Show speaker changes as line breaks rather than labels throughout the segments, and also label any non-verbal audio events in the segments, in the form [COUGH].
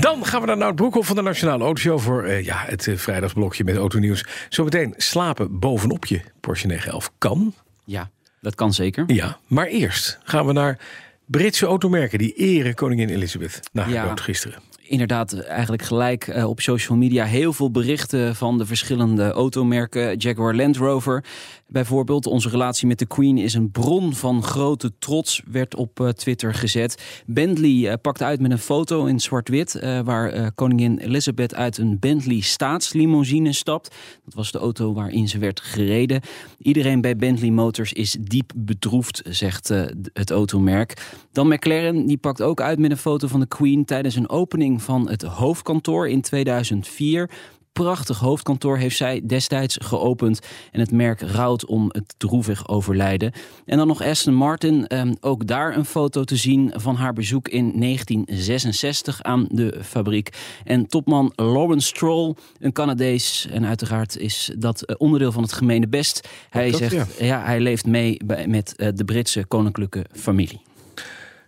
Dan gaan we naar Nout Broekhoff van de Nationale Autoshow voor eh, ja, het eh, vrijdagsblokje met autonieuws. Zometeen slapen bovenop je Porsche 911 kan.
Ja, dat kan zeker.
Ja, maar eerst gaan we naar Britse automerken die eren koningin Elizabeth na haar
Ja.
dood gisteren.
inderdaad eigenlijk gelijk eh, op social media heel veel berichten van de verschillende automerken. Jaguar Land Rover bijvoorbeeld. Onze relatie met de Queen is een bron van grote trots, werd op eh, Twitter gezet. Bentley eh, pakte uit met een foto in zwart-wit eh, waar eh, koningin Elizabeth uit een Bentley staatslimousine stapt. Dat was de auto waarin ze werd gereden. Iedereen bij Bentley Motors is diep bedroefd, zegt eh, d- het automerk. Dan McLaren, die pakt ook uit met een foto van de Queen tijdens een opening van het hoofdkantoor in 2004. Prachtig hoofdkantoor heeft zij destijds geopend. En het merk rouwt om het droevig overlijden. En dan nog Aston Martin. ehm, ook daar een foto te zien van haar bezoek in 1966 aan de fabriek. En topman Lawrence Stroll, een Canadees. En uiteraard is dat eh, onderdeel van het gemene best. Hij
dat,
zegt, ja. hij leeft mee bij, met eh, de Britse koninklijke familie.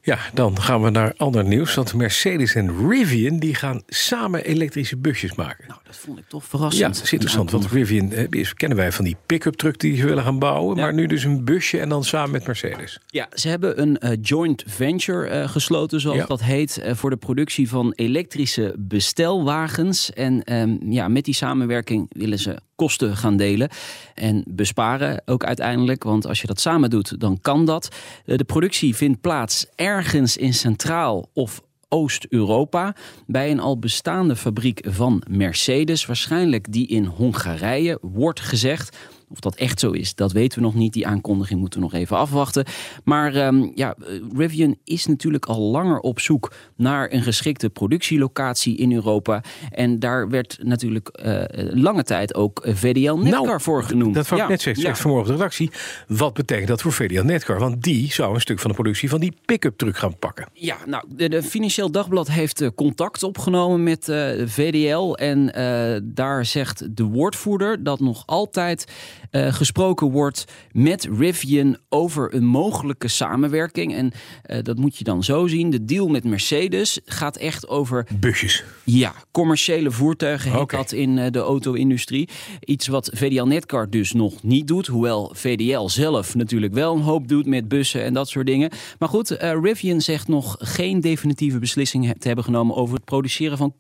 Ja, dan gaan we naar ander nieuws. Want Mercedes en Rivian die gaan samen elektrische busjes maken.
Nou, Dat vond ik toch
ja,
verrassend.
dat is interessant. Want Rivian eh, is, kennen wij van die pick-up truck die ze willen gaan bouwen. Maar nu dus een busje en dan samen met Mercedes.
Ja, ze hebben een eh, joint venture eh, gesloten, zoals
Ja.
dat heet, eh, voor de productie van elektrische bestelwagens. En ehm, ja, met die samenwerking willen ze kosten gaan delen en besparen ook uiteindelijk. Want als je dat samen doet, dan kan dat. Eh, de productie vindt plaats ergens in Centraal of Oost-Europa bij een al bestaande fabriek van Mercedes, waarschijnlijk die in Hongarije, wordt gezegd. Of dat echt zo is, dat weten we nog niet. Die aankondiging moeten we nog even afwachten. Maar ehm, ja, eh, Rivian is natuurlijk al langer op zoek naar een geschikte productielocatie in Europa. En daar werd natuurlijk eh, lange tijd ook eh, VDL Netcar voor
Nou,
genoemd.
Dat wou ik
Ja,
net zeggen,
ja.
zegt vanmorgen op de redactie. Wat betekent dat voor VDL Netcar? Want die zou een stuk van de productie van die pick-up truck gaan pakken.
Ja, nou, de, de Financieel Dagblad heeft eh, contact opgenomen met eh, VDL. En eh, daar zegt de woordvoerder dat nog altijd eh, gesproken wordt met Rivian over een mogelijke samenwerking. En eh, dat moet je dan zo zien. De deal met Mercedes gaat echt over
Busjes.
ja, commerciële voertuigen heet
Oké.
dat in eh, de auto-industrie. Iets wat VDL Netcar dus nog niet doet. Hoewel VDL zelf natuurlijk wel een hoop doet met bussen en dat soort dingen. Maar goed, eh, Rivian zegt nog geen definitieve beslissing he- te hebben genomen... over het produceren van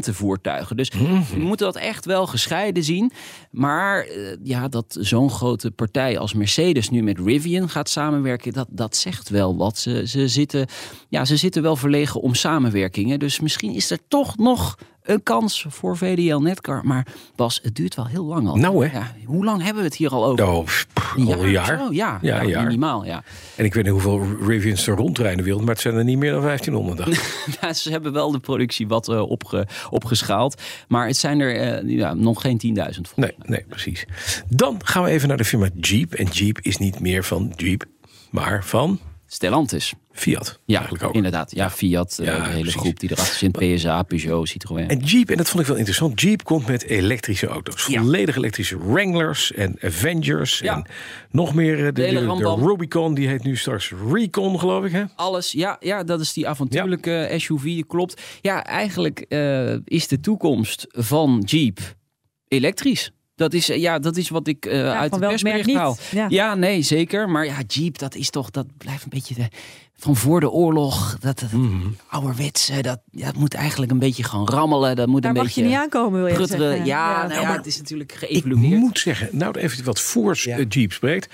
consumentenvoertuigen. Dus we moeten dat echt wel gescheiden zien. Maar eh, ja, dat zo'n grote partij als Mercedes nu met Rivian gaat samenwerken... dat, dat zegt wel wat. Ze, ze, zitten, ja, ze zitten wel verlegen om samenwerkingen. Dus misschien is er toch nog een kans voor VDL Netcar. Maar Bas, het duurt wel heel lang al.
Nou, hè?
Ja, hoe lang hebben we het hier al over?
Oh, pff, al een jaar.
of zo? ja,
Ja,
ja,
een jaar.
minimaal. Ja. [LAUGHS]
En ik weet niet hoeveel Rivians er rondrijden in de wereld, maar het zijn er niet meer dan 1500.
[LAUGHS]
dacht ik.
Ja, ze hebben wel de productie wat eh, opge- opgeschaald. Maar het zijn er eh, ja, nog geen 10.000 volgens
Nee, nee, precies. Dan gaan we even naar de firma Jeep. En Jeep is niet meer van Jeep, maar van
Stellantis.
Fiat.
Ja,
eigenlijk ook.
inderdaad. Ja, Fiat, eh,
Ja,
de hele
precies.
groep die erachter zit. PSA, Peugeot, Citroën.
En Jeep, en dat vond ik wel interessant, Jeep komt met elektrische auto's.
Ja.
Volledig elektrische Wranglers en Avengers
Ja.
en nog meer eh, de, de,
hele
de
rambam.
Rubicon, die heet nu straks Recon, geloof ik, hè?
Alles, ja, ja, dat is die avontuurlijke SUV, klopt. Ja, eigenlijk eh, is de toekomst van Jeep elektrisch. Dat is, eh, ja, dat is wat ik eh, uit
van
de
welk merk
persbericht
niet?
haal.
Ja.
Ja, nee, zeker. Maar ja, Jeep, dat is toch, dat blijft een beetje de, van voor de oorlog. Dat, dat ouderwets, eh, dat, ja, dat moet eigenlijk een beetje gaan rammelen. Dat moet
Daar
een
mag
beetje
je niet aankomen, wil je
prutteren.
zeggen.
Ja, nou ja,
maar
het is natuurlijk
Ik
geëvolueerd.
moet zeggen, nou even wat voor eh, Jeep spreekt.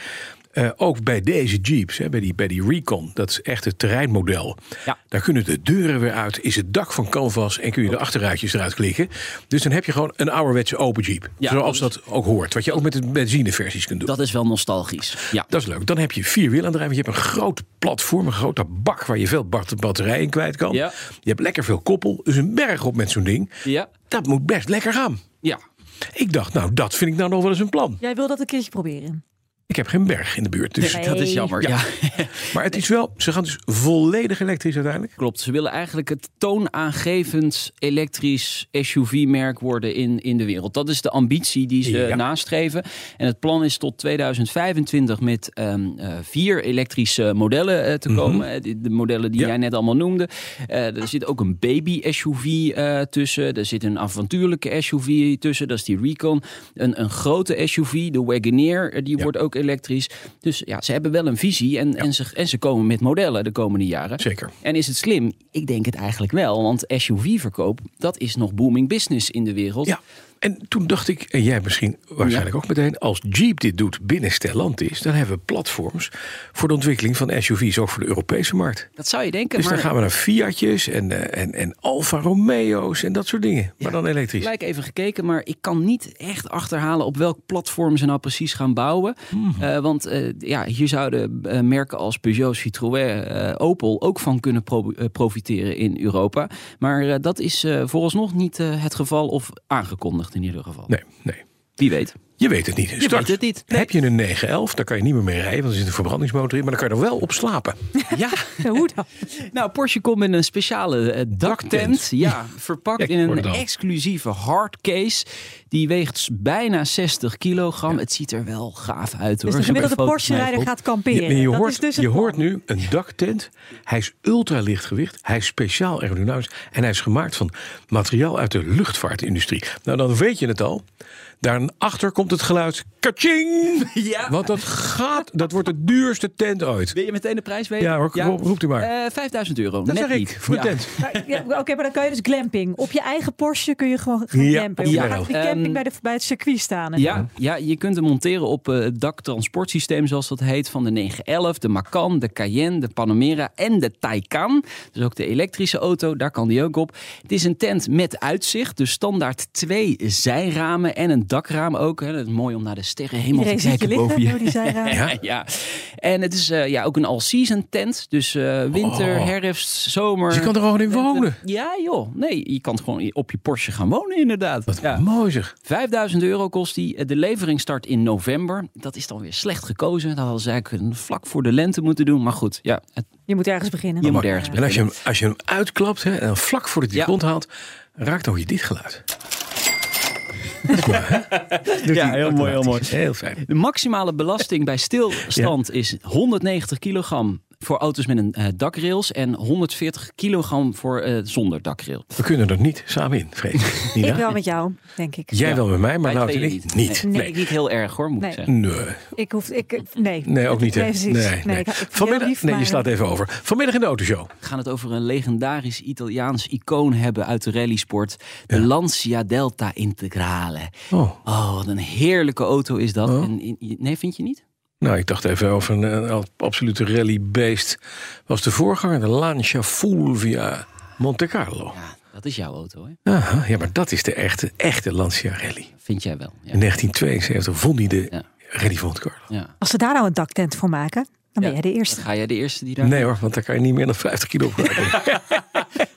eh, ook bij deze Jeeps, hè, bij, die, bij die Recon, dat is echt het terreinmodel.
Ja.
Daar kunnen de deuren weer uit, is het dak van canvas en kun je de achterruitjes eruit klikken. Dus dan heb je gewoon een ouderwetse open Jeep.
Ja,
zoals
dat
dat ook hoort. Wat je ook met de benzineversies kunt doen.
Dat is wel nostalgisch. Ja.
Dat is leuk. Dan heb je vierwielaandrijving. Je hebt een groot platform, een grote bak waar je veel bat- batterijen in kwijt kan.
Ja.
Je hebt lekker veel koppel. Dus een berg op met zo'n ding.
Ja.
Dat moet best lekker gaan.
ja.
Ik dacht, nou, dat vind ik nou nog wel eens een plan. [LAUGHS]
Jij wil dat een keertje proberen.
Ik heb geen berg in de buurt. Dus.
Dus dat is jammer.
Ja.
Ja.
Maar het is wel, ze gaan dus volledig elektrisch uiteindelijk.
Klopt. Ze willen eigenlijk het toonaangevend elektrisch SUV-merk worden in, in de wereld. Dat is de ambitie die ze
Ja.
nastreven. En het plan is tot 2025 met ehm, eh, vier elektrische modellen eh, te komen. Eh, De, de modellen
Mhm.
die
Ja.
jij net allemaal noemde. Eh, er zit ook een baby-SUV eh, tussen. Er zit een avontuurlijke SUV tussen. Dat is die Recon. Een, een grote SUV, de Wagoneer, eh, die
Ja.
wordt ook elektrisch. Dus ja, ze hebben wel een visie. En, en, ze, en ze komen met modellen de komende jaren.
Zeker.
En is het slim? Ik denk het eigenlijk wel, want SUV-verkoop, dat is nog booming business in de wereld.
Ja. En toen dacht ik, en jij misschien waarschijnlijk ook meteen, als Jeep dit doet binnen Stellantis, dan hebben we platforms voor de ontwikkeling van SUV's ook voor de Europese markt.
Dat zou je denken,
Dus
maar
dan gaan we naar Fiatjes en, eh, en, en Alfa Romeo's en dat soort dingen. Maar dan elektrisch.
gelijk even gekeken, maar ik kan niet echt achterhalen op welk platform ze nou precies gaan bouwen.
Mhm.
Eh, want eh, ja, hier zouden eh, merken als Peugeot, Citroën, eh, Opel ook van kunnen pro- eh, profiteren in Europa. Maar eh, dat is eh vooralsnog niet eh, het geval, of aangekondigd in ieder geval.
Nee, nee.
Wie
[LAUGHS]
weet.
Je weet het niet. Je
weet het niet.
Heb je een 911, dan kan je niet meer mee rijden, want er zit een verbrandingsmotor in, maar dan kan je er wel op slapen.
Ja.
Hoe dan? Dus
Nou, Porsche komt met een speciale eh, daktent.
Daktent.
Ja, verpakt
Kijk,
in
hoor
een
het al.
exclusieve hardcase. Die weegt s- bijna 60 kilogram. Het ziet er wel gaaf uit hoor.
Dus de
Ze hebben
gemiddelde
foto's van mij
Porsche-rijder
op.
gaat
Je,
kamperen.
je
Dat
hoort,
is dus het
je
plan.
hoort nu een daktent. Hij is ultralichtgewicht. Hij is speciaal aerodynamisch. En hij is gemaakt van materiaal uit de luchtvaartindustrie. Nou, dan weet je het al. Daarachter komt het geluid kaching.
[LAUGHS] Ja.
Want dat gaat, dat wordt de duurste tent ooit.
Wil je meteen de prijs weten?
Ja hoor, roep- roept u maar.
Eh, 5000 euro.
dat
net
zeg ik,
niet.
voor de
Ja.
tent.
Maar, ja, Oké, maar dan kan je dus glamping. Op je eigen Porsche kun je gewoon gaan
Ja,
campen.
op
Je
de
gaat
rail.
die camping
Ehm,
bij, de, bij het circuit staan. en
Ja, ja, je kunt hem monteren op eh, het daktransportsysteem, zoals dat heet, van de 911, de Macan, de Cayenne, de Panamera en de Taycan. Dus ook de elektrische auto, daar kan die ook op. Het is een tent met uitzicht, dus standaard twee zijramen en een dakraam ook. Hè. Dat is mooi om naar de sterren helemaal te
Iedereen ziet je
kijken boven
liggen
je.
door die
[LAUGHS]
[LAUGHS] zijramen.
Ja. ja, en het is eh, ja, ook een all-season tent. Dus eh, winter,
Oh.
herfst, zomer.
Dus je kan er gewoon in wonen.
Ja joh, nee, je kan gewoon op je Porsche gaan wonen inderdaad.
Wat
ja.
mooi zeg.
5000 euro kost die. De levering start in november. Dat is dan weer slecht gekozen. Dat hadden ze eigenlijk vlak voor de lente moeten doen. Maar goed, ja, het,
Je moet ergens beginnen.
je moet ergens
En als je
beginnen.
hem, als je hem uitklapt hè, en dan vlak voor het die
Ja.
grond haalt, raakt dan je dit geluid. Dat is mooi, hè? Doet
Ja,
hij
heel mooi, heel
automatisch. Heel fijn.
De maximale belasting bij stilstand is 190 kilogram voor auto's met een eh, dakrails en 140 kilogram voor eh, zonder dakrail.
We kunnen er niet samen in, vrees ik.
Ik
Nina?
wel met jou, denk ik.
Jij
Ja.
wel met mij, maar
Wij
Nout en
tweeën
ik niet. Niet.
Nee,
Nee.
nee, ik niet heel erg hoor, moet
Nee.
ik zeggen.
Nee.
Ik hoef, ik, nee.
Nee, ook niet. hè?
Nee, precies.
Nee, nee.
ik- ik vind
Vanmiddag,
heel lief,
nee, je
maar-
slaat even over. Vanmiddag in de autoshow.
We gaan het over een legendarisch Italiaans icoon hebben uit de rallysport. De Lancia Delta Integrale.
Oh,
Oh, wat een heerlijke auto is dat. En, in- nee, vind je niet?
nou, ik dacht even over een, eh, al- absolute rallybeest. Was de voorganger de Lancia Fulvia Monte Carlo.
Ja, dat is jouw auto, hè?
Aha, ja, maar dat is de echte, echte Lancia Rally.
Vind jij wel. Ja.
In 1972 vond hij de
Ja.
Rally van Monte Carlo.
Ja.
Als ze daar nou een daktent voor maken, dan ben
Ja.
jij de eerste.
Dan ga jij de eerste die daar...
Nee hoor, want daar kan je niet meer dan 50 kilo op
[LAUGHS]
rijden.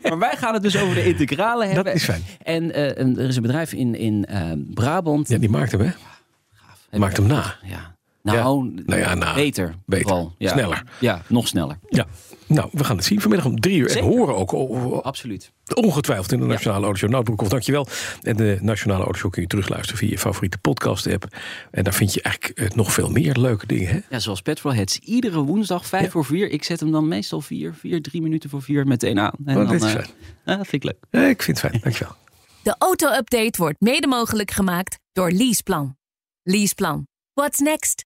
Maar wij gaan het dus over de
[LAUGHS]
integrale hebben.
is fijn.
En eh, een- er is een bedrijf in, in eh, Brabant.
Ja, die maakt hem, hè? Maakt hem na.
Ja. Nou,
Nou ja, nou,
beter.
beter.
vooral. Ja.
Sneller.
Ja, nog sneller.
Ja. Nou, we gaan het zien vanmiddag om drie uur.
Zeker.
En horen ook o-
Absoluut.
Ongetwijfeld in de Nationale Autoshow. Nou, Broekhoff, dankjewel. En de Nationale Autoshow kun je terugluisteren via je favoriete podcast-app. En daar vind je eigenlijk eh, nog veel meer leuke dingen. Hè?
Ja, zoals Petrolheads. Iedere woensdag, vijf voor vier. Ik zet hem dan meestal vier, vier, drie minuten voor vier meteen aan. En
Oh,
dan,
dit is
eh,
fijn.
ja, dat vind ik leuk.
Eh, ik vind het fijn, dankjewel.
De auto-update wordt mede mogelijk gemaakt door Leaseplan. Leaseplan. What's next?